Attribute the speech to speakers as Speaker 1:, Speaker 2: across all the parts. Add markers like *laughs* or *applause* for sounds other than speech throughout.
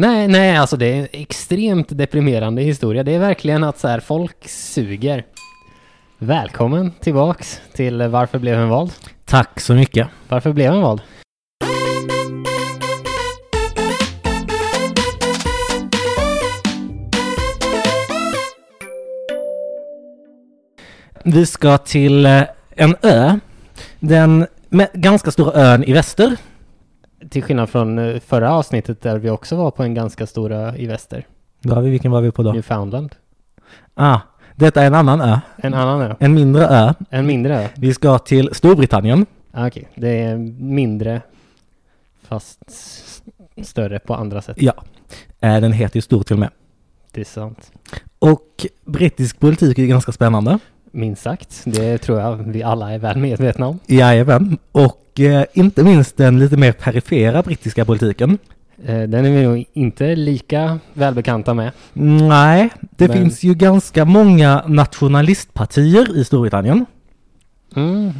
Speaker 1: Nej, nej, alltså det är en extremt deprimerande historia. Det är verkligen att så här, folk suger. Välkommen tillbaks till eh, Varför blev en vald?
Speaker 2: Tack så mycket.
Speaker 1: Varför blev en vald?
Speaker 2: Vi ska till eh, en ö. Den med ganska stora ön i väster.
Speaker 1: Till skillnad från eh, förra avsnittet där vi också var på en ganska stor ö i väster,
Speaker 2: Var vi, vilken var vi på då?
Speaker 1: Newfoundland.
Speaker 2: Ah, detta är en annan ö.
Speaker 1: En annan ö,
Speaker 2: En mindre ö.
Speaker 1: en mindre ö.
Speaker 2: Vi ska till Storbritannien.
Speaker 1: Ah, Okej, det är mindre fast s- större på andra sätt.
Speaker 2: Ja. Eh, Den heter ju Stor till och med.
Speaker 1: Det är sant.
Speaker 2: Och brittisk politik är ganska spännande.
Speaker 1: Minst sagt, det tror jag vi alla är väl medvetna om.
Speaker 2: Jajamän. Och eh, inte minst den lite mer perifera brittiska politiken.
Speaker 1: Eh, Den är vi nog inte lika välbekanta med.
Speaker 2: Nej, det
Speaker 1: Men-
Speaker 2: finns ju ganska många nationalistpartier i Storbritannien.
Speaker 1: Mm.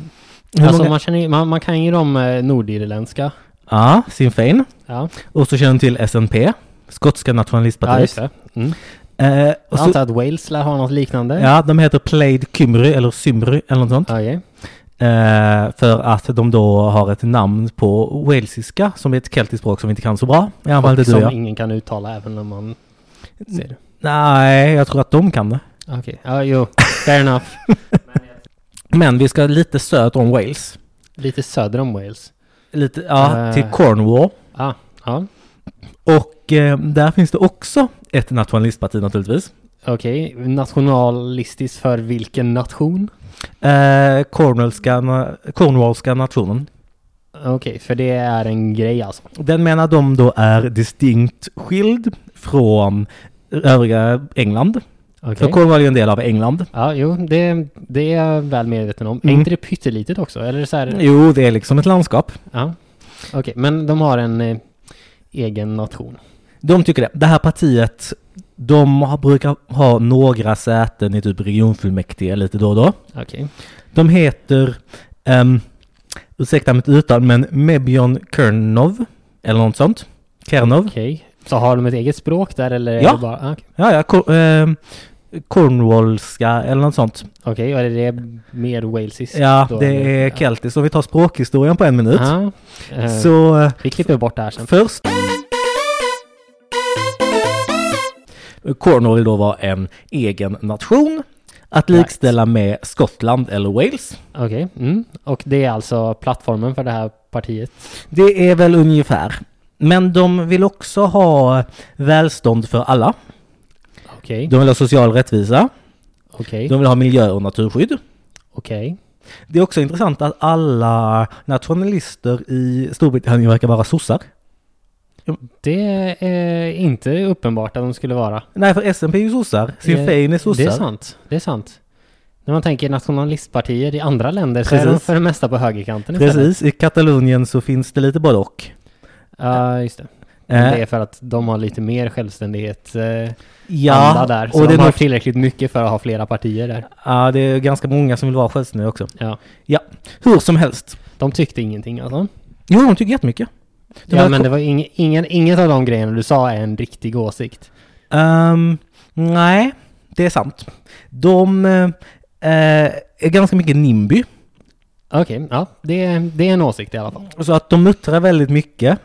Speaker 2: Hur
Speaker 1: Alltså
Speaker 2: många-
Speaker 1: man, känner, ju- man, man kan ju de eh, nordirländska.
Speaker 2: Ja, Sinn Fein.
Speaker 1: Ja,
Speaker 2: Och så känner du till SNP, Skotska
Speaker 1: ja just
Speaker 2: nationalistpartiet.
Speaker 1: det. Mm.
Speaker 2: eh, och
Speaker 1: Jag
Speaker 2: så,
Speaker 1: antar att Wales lär ha något liknande.
Speaker 2: ja, de heter Plaid Cymru eller Symru eller något sånt.
Speaker 1: Okej.
Speaker 2: Eh, för att de då har ett namn på walesiska som är ett keltiskt språk som vi inte kan så bra. I alla fall
Speaker 1: Och
Speaker 2: inte du
Speaker 1: som
Speaker 2: och jag.
Speaker 1: ingen kan uttala även om man ser det.
Speaker 2: Nej, jag tror att de kan det.
Speaker 1: Okej, ja jo, fair enough.
Speaker 2: Men vi ska lite söder om Wales.
Speaker 1: Lite söder om Wales.
Speaker 2: Lite, ja,
Speaker 1: Eh.
Speaker 2: till Cornwall.
Speaker 1: Ah, ja,
Speaker 2: Och eh, där finns det också ett nationalistparti naturligtvis.
Speaker 1: okej. Nationalistiskt för vilken nation?
Speaker 2: Eh, Cornwallska, Cornwallska nationen.
Speaker 1: Okej, för det är en grej alltså.
Speaker 2: Den menar de då är distinkt skild från övriga England.
Speaker 1: Okej.
Speaker 2: För Cornwall är ju en del av England.
Speaker 1: Ja, jo, det, det är jag väl medveten om. Är
Speaker 2: Mm.
Speaker 1: inte det pyttelitet också? Eller så här,
Speaker 2: Jo, det är liksom ett landskap.
Speaker 1: Ja. Okej, men de har en eh, egen nation.
Speaker 2: De tycker det. Det här partiet, de har- brukar ha några säten i typ regionfullmäktige lite då och då.
Speaker 1: Okej.
Speaker 2: De heter, um, ursäkta mitt uttal, men Mebion Kernov eller något sånt. Kernov.
Speaker 1: Okej. Så har de ett eget språk där eller? är
Speaker 2: Ja.
Speaker 1: det bara- ah, Okej,
Speaker 2: Ja, ja, Cor- ehm, Cornwallska eller något sånt.
Speaker 1: Okej, och är det mer walesiskt?
Speaker 2: Ja,
Speaker 1: då, eller?
Speaker 2: det är keltiskt. Om vi tar språkhistorien på en minut.
Speaker 1: Ja. Eh,
Speaker 2: Så eh,
Speaker 1: vi klipper bort det här sen.
Speaker 2: först... Cornwall vill då vara en egen nation. Att
Speaker 1: Right.
Speaker 2: likställa med Skottland eller Wales.
Speaker 1: Okej, mm. och det är alltså plattformen för det här partiet?
Speaker 2: Det är väl ungefär. Men de vill också ha välstånd för alla.
Speaker 1: Okej,
Speaker 2: De vill ha social rättvisa.
Speaker 1: okej,
Speaker 2: De vill ha miljö och naturskydd.
Speaker 1: okej.
Speaker 2: Det är också intressant att alla nationalister i Storbritannien verkar vara sossar.
Speaker 1: Det är inte uppenbart att de skulle vara.
Speaker 2: Nej, för SNP är ju sossar. Sinn
Speaker 1: Eh,
Speaker 2: Fein är sossar.
Speaker 1: Det är sant, det är sant. När man tänker nationalistpartier i andra länder så är de
Speaker 2: Precis.
Speaker 1: för det mesta på högerkanten istället.
Speaker 2: Precis, i Katalonien så finns det lite både och.
Speaker 1: Ja, just det.
Speaker 2: Eh.
Speaker 1: Men det är för att de har lite mer självständighet eh, anda där. Så
Speaker 2: och
Speaker 1: de
Speaker 2: det är,
Speaker 1: har
Speaker 2: nog,
Speaker 1: tillräckligt mycket för att ha flera partier där.
Speaker 2: ja, det är ganska många som vill vara självständiga också.
Speaker 1: Ja.
Speaker 2: Hur som helst.
Speaker 1: De tyckte ingenting alltså.
Speaker 2: Jo, de tycker jättemycket. De
Speaker 1: Ja,
Speaker 2: här
Speaker 1: men
Speaker 2: ko-
Speaker 1: det var ing, ingen, inget av de grejerna du sa är en riktig åsikt.
Speaker 2: Ehm, nej, det är sant. De eh, är ganska mycket nimby,
Speaker 1: Okej, ja. Det, det är en åsikt i alla fall.
Speaker 2: så att de muttrar väldigt mycket.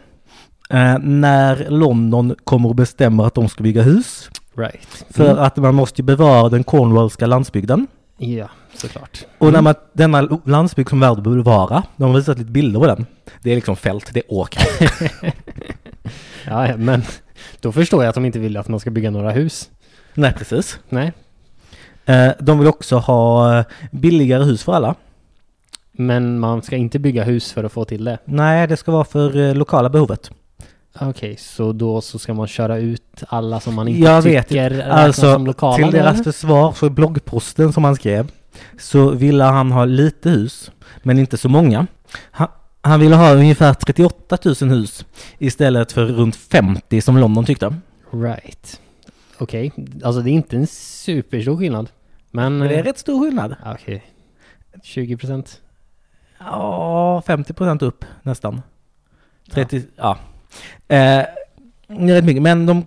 Speaker 2: eh, när London kommer och bestämmer att de ska bygga hus.
Speaker 1: Right. Mm.
Speaker 2: För att man måste ju bevara den cornwallska landsbygden.
Speaker 1: Ja, såklart.
Speaker 2: Och när man, denna lo- landsbygd som värld borde vara, de har visat lite bilder på den. Det är liksom fält, det är åker.
Speaker 1: Ja, ja, men då förstår jag att de inte vill att man ska bygga några hus.
Speaker 2: Nej, precis.
Speaker 1: Nej.
Speaker 2: Eh, De vill också ha eh, billigare hus för alla.
Speaker 1: Men man ska inte bygga hus för att få till det.
Speaker 2: Nej, det ska vara för eh, lokala behovet.
Speaker 1: Okej, så då så ska man köra ut alla som man inte
Speaker 2: Jag vet
Speaker 1: tycker räknas
Speaker 2: Alltså,
Speaker 1: som lokala?
Speaker 2: Till
Speaker 1: eller?
Speaker 2: deras försvar, för bloggposten som han skrev, så ville han ha lite hus, men inte så många. Han, han ville ha ungefär 38 000 hus istället för runt 50 som London tyckte.
Speaker 1: Mm. Right. Okej, alltså det är inte en superstor skillnad. Men...
Speaker 2: Men det är
Speaker 1: eh,
Speaker 2: rätt stor skillnad.
Speaker 1: ja, Okej. 20 procent.
Speaker 2: Ja, 50 procent upp nästan. 30, ja. Eh, rätt mycket. Men de,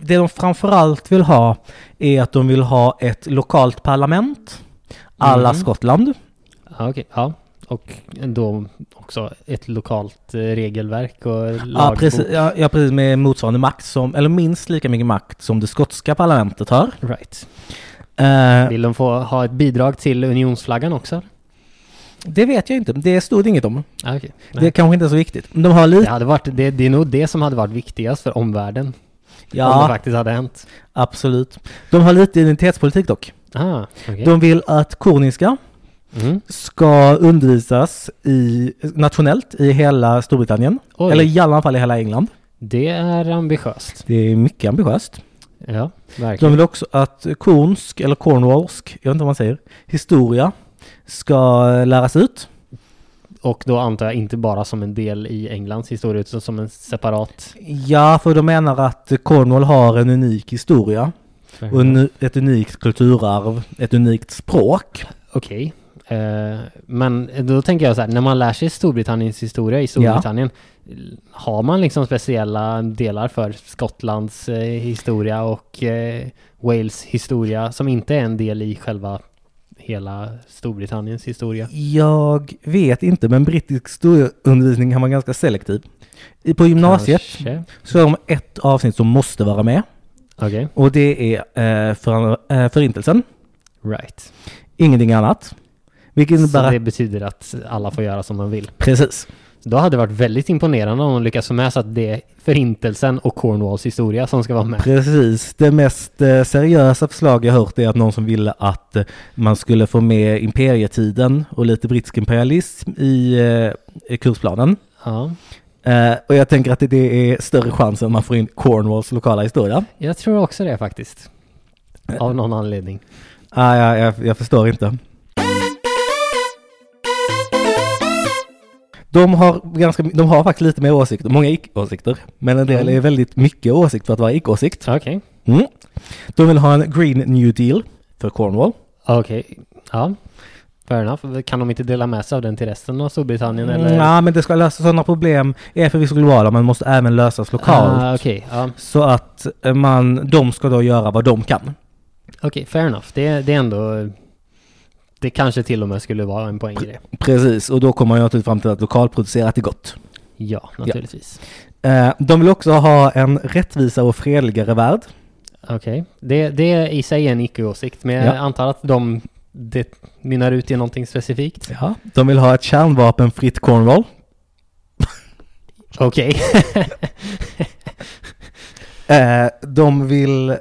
Speaker 2: det de framförallt vill ha är att de vill ha ett lokalt parlament, alla
Speaker 1: Mm.
Speaker 2: Skottland.
Speaker 1: Ja, okej. Ja. Och då också ett lokalt eh, regelverk och lagbok.
Speaker 2: Ja precis, ja, ja, precis, med motsvarande makt som, eller minst lika mycket makt som det skotska parlamentet har.
Speaker 1: Right.
Speaker 2: Eh,
Speaker 1: Vill de få ha ett bidrag till unionsflaggan också?
Speaker 2: det vet jag inte, det stod inget om.
Speaker 1: Ja, okej. Nej.
Speaker 2: Det kanske inte är så viktigt. De har
Speaker 1: Det,
Speaker 2: lite...
Speaker 1: hade varit, det, det är nog det som hade varit viktigast för omvärlden. Om det
Speaker 2: Ja,
Speaker 1: faktiskt hade hänt.
Speaker 2: absolut. De har lite identitetspolitik dock.
Speaker 1: Ah, okej.
Speaker 2: De vill att kurdiska
Speaker 1: Mm.
Speaker 2: ska undervisas i, nationellt i hela Storbritannien.
Speaker 1: Oj.
Speaker 2: Eller i alla fall i hela England.
Speaker 1: Det är ambitiöst.
Speaker 2: Det är mycket ambitiöst.
Speaker 1: Ja,
Speaker 2: De
Speaker 1: verkligen.
Speaker 2: vill också att kornsk, eller cornwallsk, jag vet inte vad man säger, historia ska läras ut.
Speaker 1: Och då antar jag inte bara som en del i Englands historia utan som en separat...
Speaker 2: Ja, för de menar att Cornwall har en unik historia,
Speaker 1: Mhm.
Speaker 2: och en, ett unikt kulturarv, ett unikt språk.
Speaker 1: Okej. Eh, men då tänker jag så här, när man lär sig Storbritanniens historia i Storbritannien, har man liksom speciella delar för Skottlands eh, historia och eh, Wales historia som inte är en del i själva hela Storbritanniens historia?
Speaker 2: Jag vet inte, men brittisk historieundervisning kan vara ganska selektiv. I- På gymnasiet
Speaker 1: Kanske.
Speaker 2: så har de ett avsnitt som måste vara med,
Speaker 1: Okej,
Speaker 2: och det är eh, för, eh, Förintelsen,
Speaker 1: right.
Speaker 2: ingenting annat. Vilket
Speaker 1: Så
Speaker 2: innebär
Speaker 1: det
Speaker 2: att...
Speaker 1: betyder att alla får göra som de vill.
Speaker 2: Precis.
Speaker 1: Då hade det varit väldigt imponerande om de lyckas få med så att det är Förintelsen och Cornwalls historia som ska vara med.
Speaker 2: Precis, det mest eh, seriösa förslag jag hört är att någon som ville att eh, man skulle få med imperietiden och lite brittisk imperialism i eh, i kursplanen.
Speaker 1: Ja.
Speaker 2: Eh, och jag tänker att det- det är större chans att man får in Cornwalls lokala historia.
Speaker 1: Jag tror också det faktiskt. Av någon anledning.
Speaker 2: Ah, ja, jag, jag förstår inte. De har, ganska, de har faktiskt lite mer åsikter, många icke-åsikter, men en del
Speaker 1: Mm.
Speaker 2: är väldigt mycket åsikt för att vara icke-åsikt.
Speaker 1: Okej.
Speaker 2: Mm. De vill ha en Green New Deal för Cornwall.
Speaker 1: Okej. Ja. Fair enough. Kan de inte dela med sig av den till resten av Storbritannien eller?
Speaker 2: Ja, men det ska lösa sådana problem är förvisso globala, men måste även lösas lokalt.
Speaker 1: Ah, Okej, ja.
Speaker 2: Så att eh, man, de ska då göra vad de kan.
Speaker 1: Okej, fair enough. Det, det är ändå... Det kanske till och med skulle vara en poäng i det.
Speaker 2: Precis, och då kommer jag naturligtvis fram till att lokalproducerat är gott.
Speaker 1: Ja, naturligtvis.
Speaker 2: Eh, De vill också ha en rättvisare och fredligare värld.
Speaker 1: Okej. Det, det är i sig en icke-åsikt, men jag
Speaker 2: Ja.
Speaker 1: antar att de... Det mynnar ut i någonting specifikt.
Speaker 2: Ja. De vill ha ett kärnvapenfritt Cornwall.
Speaker 1: Okej.
Speaker 2: Eh, De vill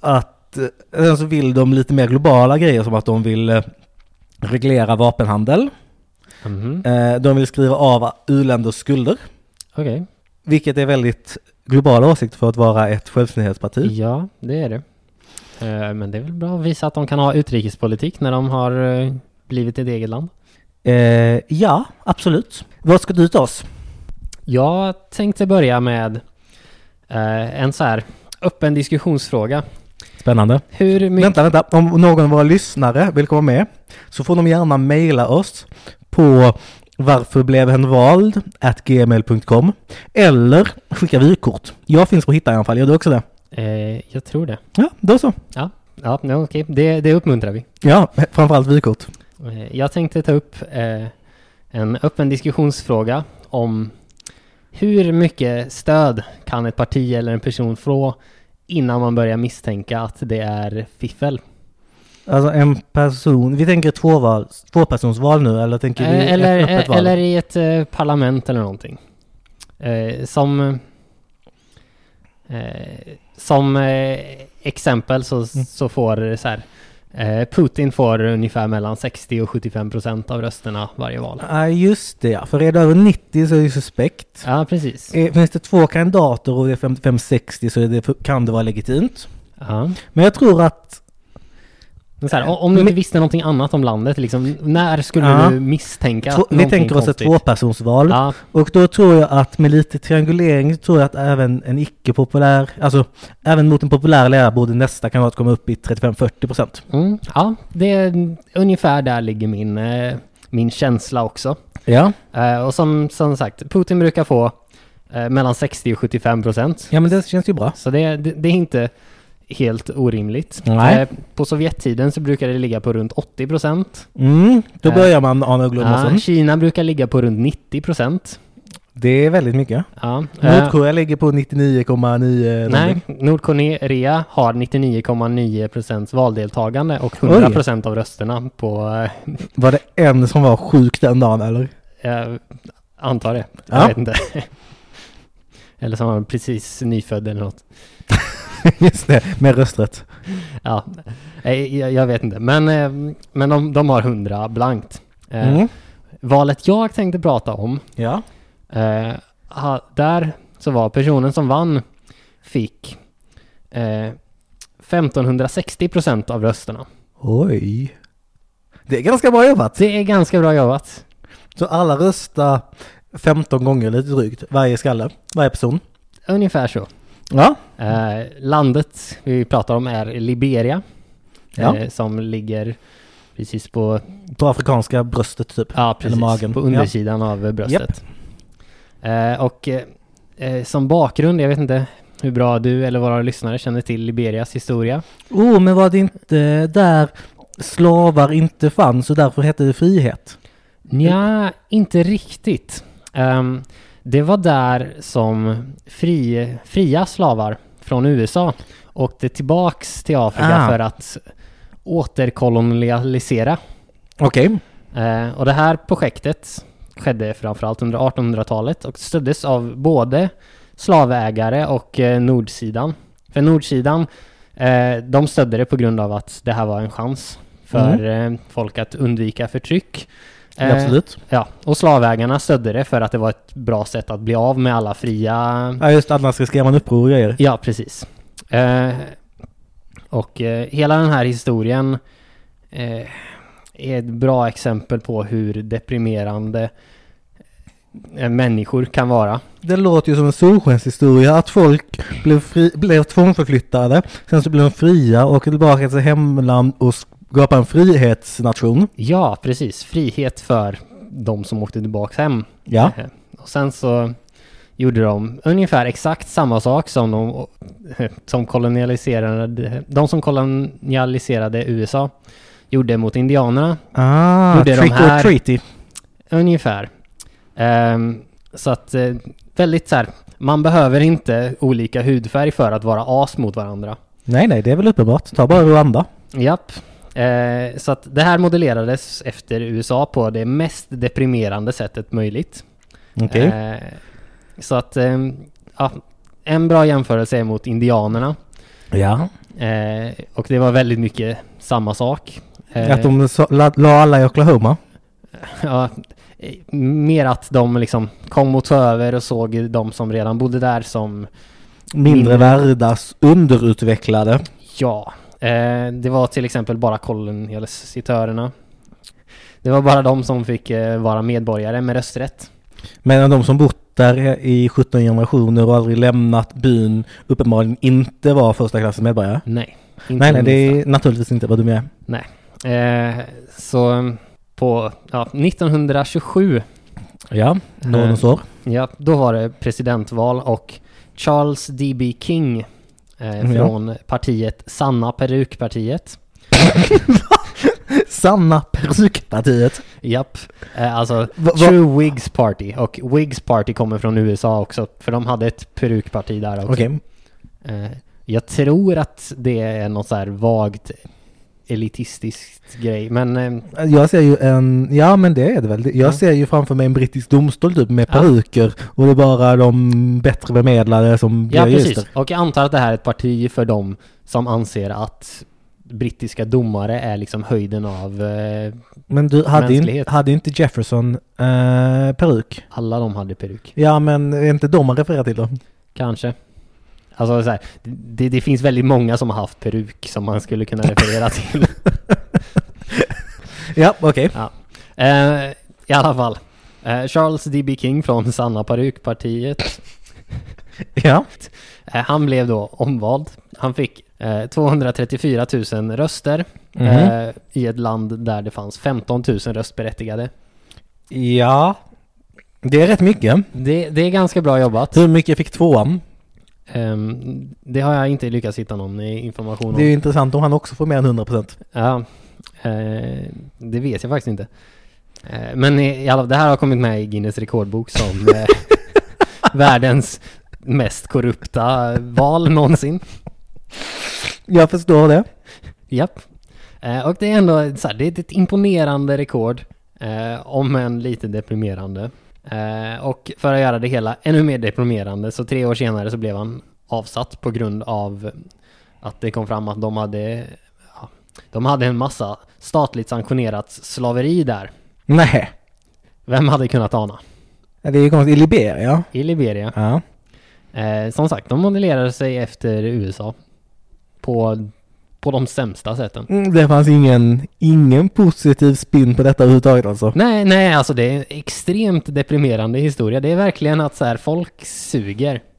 Speaker 2: att, eh, sen så vill de lite mer globala grejer som att de vill eh, reglera vapenhandel.
Speaker 1: Mhm.
Speaker 2: Eh, De vill skriva av u-länders skulder.
Speaker 1: Okej.
Speaker 2: Vilket är väldigt global åsikt för att vara ett självständighetsparti.
Speaker 1: Ja, det är det. Eh, Men det är väl bra att visa att de kan ha utrikespolitik när de har eh, blivit ett eget land.
Speaker 2: Eh, ja, absolut. Vad ska du ta oss?
Speaker 1: Jag tänkte börja med eh, en så här öppen diskussionsfråga.
Speaker 2: Spännande.
Speaker 1: Hur mycket...
Speaker 2: Vänta, vänta. Om någon av våra lyssnare vill komma med så får de gärna mejla oss på varför blev hen vald? At gmail.com Eller skicka vykort. Jag finns på hitta i alla fall. Gör du också det?
Speaker 1: Eh, jag tror det.
Speaker 2: Ja, då så.
Speaker 1: Ja, nej, okej. Det, det uppmuntrar vi.
Speaker 2: Ja, framförallt vykort.
Speaker 1: Eh, jag tänkte ta upp eh, en öppen diskussionsfråga om hur mycket stöd kan ett parti eller en person få innan man börjar misstänka att det är fiffel?
Speaker 2: Alltså en person. Vi tänker tvåval, tvåpersonsval nu eller tänker vi
Speaker 1: Eh, eller,
Speaker 2: ett öppet
Speaker 1: eh,
Speaker 2: val?
Speaker 1: eller i ett eh, parlament eller någonting. Eh, som eh, som eh, exempel så, så får eh, så här, eh, Putin får ungefär mellan 60 och 75 procent av rösterna varje val.
Speaker 2: Ja, just det ja. För är det över 90 så är det ju suspekt.
Speaker 1: Ja, precis.
Speaker 2: Eh, Finns det två kandidater och det är 55-60 så är det, kan det vara legitimt.
Speaker 1: Ja.
Speaker 2: Men jag tror att...
Speaker 1: Men Så här, o- om du inte visste någonting annat om landet, liksom, när skulle
Speaker 2: Eh, Ja.
Speaker 1: du misstänka
Speaker 2: två,
Speaker 1: att
Speaker 2: vi
Speaker 1: någonting
Speaker 2: tänker oss ett
Speaker 1: konstigt-
Speaker 2: tvåpersonsval.
Speaker 1: Ja,
Speaker 2: Och då tror jag att med lite triangulering tror jag att även en icke-populär, alltså även mot en populär lärare borde nästa kandidat komma upp i 35-40 procent.
Speaker 1: mm, ja, det är ungefär där ligger min, eh, min känsla också.
Speaker 2: Ja.
Speaker 1: Eh, och som, som sagt, Putin brukar få eh, mellan 60 och 75 procent.
Speaker 2: Ja men det känns ju bra.
Speaker 1: Så det, det, det är inte helt orimligt.
Speaker 2: Nej.
Speaker 1: Eh, På Sovjettiden så brukade det ligga på runt 80 procent.
Speaker 2: Mm, då
Speaker 1: Eh,
Speaker 2: börjar man ana Glodmarsson.
Speaker 1: Kina brukar ligga på runt 90 procent.
Speaker 2: Det är väldigt mycket.
Speaker 1: Ja. eh,
Speaker 2: Nordkorea ligger på
Speaker 1: Nej,
Speaker 2: 99,9 någonting.
Speaker 1: Nordkorea har 99,9 procents valdeltagande och 100 procent av rösterna på... eh,
Speaker 2: Var det en som var sjuk den dagen eller?
Speaker 1: Jag eh, antar det. Jag
Speaker 2: Ja.
Speaker 1: vet inte. *laughs* Eller som var precis nyfödd eller något.
Speaker 2: *laughs* Just det, med rösträtt.
Speaker 1: Ja, eh, jag, jag vet inte. Men, eh, men de, de har 100 blankt. Eh,
Speaker 2: Mm.
Speaker 1: Valet jag tänkte prata om,
Speaker 2: Ja.
Speaker 1: eh, ha, där så var personen som vann fick eh, 1560 procent av rösterna.
Speaker 2: Oj. Det är ganska bra jobbat.
Speaker 1: Det är ganska bra jobbat.
Speaker 2: Så alla röstar 15 gånger lite drygt, varje skalle, varje person.
Speaker 1: Ungefär så.
Speaker 2: Ja.
Speaker 1: Eh, landet vi pratar om är Liberia.
Speaker 2: Ja.
Speaker 1: Eh, som ligger precis på,
Speaker 2: På afrikanska bröstet typ.
Speaker 1: ja, precis,
Speaker 2: magen.
Speaker 1: på undersidan av eh, bröstet. Eh, och eh, eh, som bakgrund, jag vet inte hur bra du eller våra lyssnare känner till Liberias historia.
Speaker 2: Oh, men var det inte där slavar inte fanns och därför hette det frihet?
Speaker 1: Nja, inte riktigt. Ehm, det var där som fri, fria slavar från USA åkte tillbaks till Afrika
Speaker 2: Ah.
Speaker 1: för att återkolonialisera.
Speaker 2: Okej.
Speaker 1: Eh, och det här projektet skedde framförallt under 1800-talet och stöddes av både slavägare och eh, nordsidan. För nordsidan, eh, de stödde det på grund av att det här var en chans för eh, folk att undvika förtryck. Eh,
Speaker 2: Absolut.
Speaker 1: Ja, och slavägarna stödde det för att det var ett bra sätt att bli av med alla fria...
Speaker 2: Ja just annars riskerar man uppror och grejer.
Speaker 1: Ja, precis. Eh, och eh, hela den här historien eh, är ett bra exempel på hur deprimerande eh, människor kan vara.
Speaker 2: Det låter ju som en solskenshistoria att folk blev, fri, blev tvångsförflyttade, sen så blev de fria och tillbaka till sitt hemland och skapade en frihetsnation.
Speaker 1: Ja, precis. Frihet för de som åkte tillbaks hem.
Speaker 2: Ja.
Speaker 1: Eh, Och sen så gjorde de ungefär exakt samma sak som de eh, som kolonialiserade, de som kolonialiserade USA gjorde mot indianerna.
Speaker 2: Ah,
Speaker 1: Gjorde de
Speaker 2: trick or
Speaker 1: här-
Speaker 2: treaty.
Speaker 1: Ungefär. Ehm, så att eh, väldigt så här, man behöver inte olika hudfärg för att vara as mot varandra.
Speaker 2: Nej, nej, det är väl uppenbart. Ta bara Rwanda.
Speaker 1: Japp. Eh, så att det här modellerades efter USA på det mest deprimerande sättet möjligt.
Speaker 2: Okej.
Speaker 1: Eh, så att, ehm, ja, en bra jämförelse är mot indianerna.
Speaker 2: ja.
Speaker 1: Eh, och det var väldigt mycket samma sak. Eh,
Speaker 2: Att de så, la, la alla i Oklahoma.
Speaker 1: *laughs* Ja, eh, mer att de liksom kom och tog över och såg de som redan bodde där som,
Speaker 2: Mindre
Speaker 1: Mindre.
Speaker 2: värda, s- underutvecklade.
Speaker 1: ja, eh, det var till exempel bara kolonisatörerna. Det var bara de som fick eh, vara medborgare med rösträtt.
Speaker 2: Medan de som bott där i 17 generationer och aldrig lämnat byn uppenbarligen inte var första klassens medborgare.
Speaker 1: Nej, inte
Speaker 2: Nej, nej, det
Speaker 1: minsta.
Speaker 2: är naturligtvis inte vad du menar.
Speaker 1: Eh, så mm, på ja, 1927,
Speaker 2: Ja, nådens år.
Speaker 1: ja, då var det presidentval och Charles D.B. King eh,
Speaker 2: Ja.
Speaker 1: från partiet Sanna Perukpartiet
Speaker 2: Sanna Perukpartiet.
Speaker 1: Japp. Eh, alltså,
Speaker 2: Va- va-
Speaker 1: True Wigs Party. Och Wigs Party kommer från USA också, för de hade ett perukparti där också.
Speaker 2: Okej.
Speaker 1: Eh, jag tror att det är något så här vagt elitistiskt grej, men eh,
Speaker 2: Jag ser ju en, ja men det är det väl. Jag
Speaker 1: Ja.
Speaker 2: ser ju framför mig en brittisk domstol typ med
Speaker 1: Ja.
Speaker 2: peruker och det är bara de bättre bemedlade som
Speaker 1: ja
Speaker 2: blir
Speaker 1: precis.
Speaker 2: jurister.
Speaker 1: Och jag antar att det här är ett parti för dem som anser att brittiska domare är liksom höjden av eh,
Speaker 2: Men du, hade, in,
Speaker 1: Mänsklighet.
Speaker 2: hade inte Jefferson eh, peruk?
Speaker 1: alla de hade peruk.
Speaker 2: Ja men är inte de man refererar till då?
Speaker 1: Kanske. Alltså så här, det, det finns väldigt många som har haft peruk som man skulle kunna referera till.
Speaker 2: Ja, okej.
Speaker 1: *laughs* Eh, I alla fall. Eh, Charles D.B. King från Sanna Parukpartiet.
Speaker 2: Ja.
Speaker 1: Eh, han blev då omvald. Han fick eh, 234 000 röster
Speaker 2: Mhm.
Speaker 1: eh, i ett land där det fanns 15 000 röstberättigade.
Speaker 2: Ja. Det är rätt mycket.
Speaker 1: Det, det är ganska bra jobbat.
Speaker 2: Hur mycket fick tvåan?
Speaker 1: Ehm, det har jag inte lyckats hitta någon information
Speaker 2: Det är
Speaker 1: om.
Speaker 2: ju intressant om han också får mer än 100%.
Speaker 1: Ja, eh, det vet jag faktiskt inte. Eh, men i, i alla, det här har kommit med i Guinness rekordbok som
Speaker 2: *laughs*
Speaker 1: eh, världens mest korrupta val någonsin.
Speaker 2: Jag förstår det.
Speaker 1: Japp. Eh, och det är ändå så här, det är ett imponerande rekord. Eh, om än lite deprimerande. Eh, och för att göra det hela ännu mer deprimerande så tre år senare så blev han avsatt på grund av att det kom fram att de hade ja, de hade en massa statligt sanktionerat slaveri där.
Speaker 2: Nej,
Speaker 1: Vem hade kunnat ana?
Speaker 2: det är ju konstigt. I Liberia?
Speaker 1: I Liberia.
Speaker 2: Ja.
Speaker 1: Eh, som sagt, de modellerade sig efter USA. På, på de sämsta sätten.
Speaker 2: Mm, det fanns ingen, ingen positiv spin på detta överhuvudtaget alltså.
Speaker 1: Nej, nej, alltså det är en extremt deprimerande historia. Det är verkligen att så här, folk suger.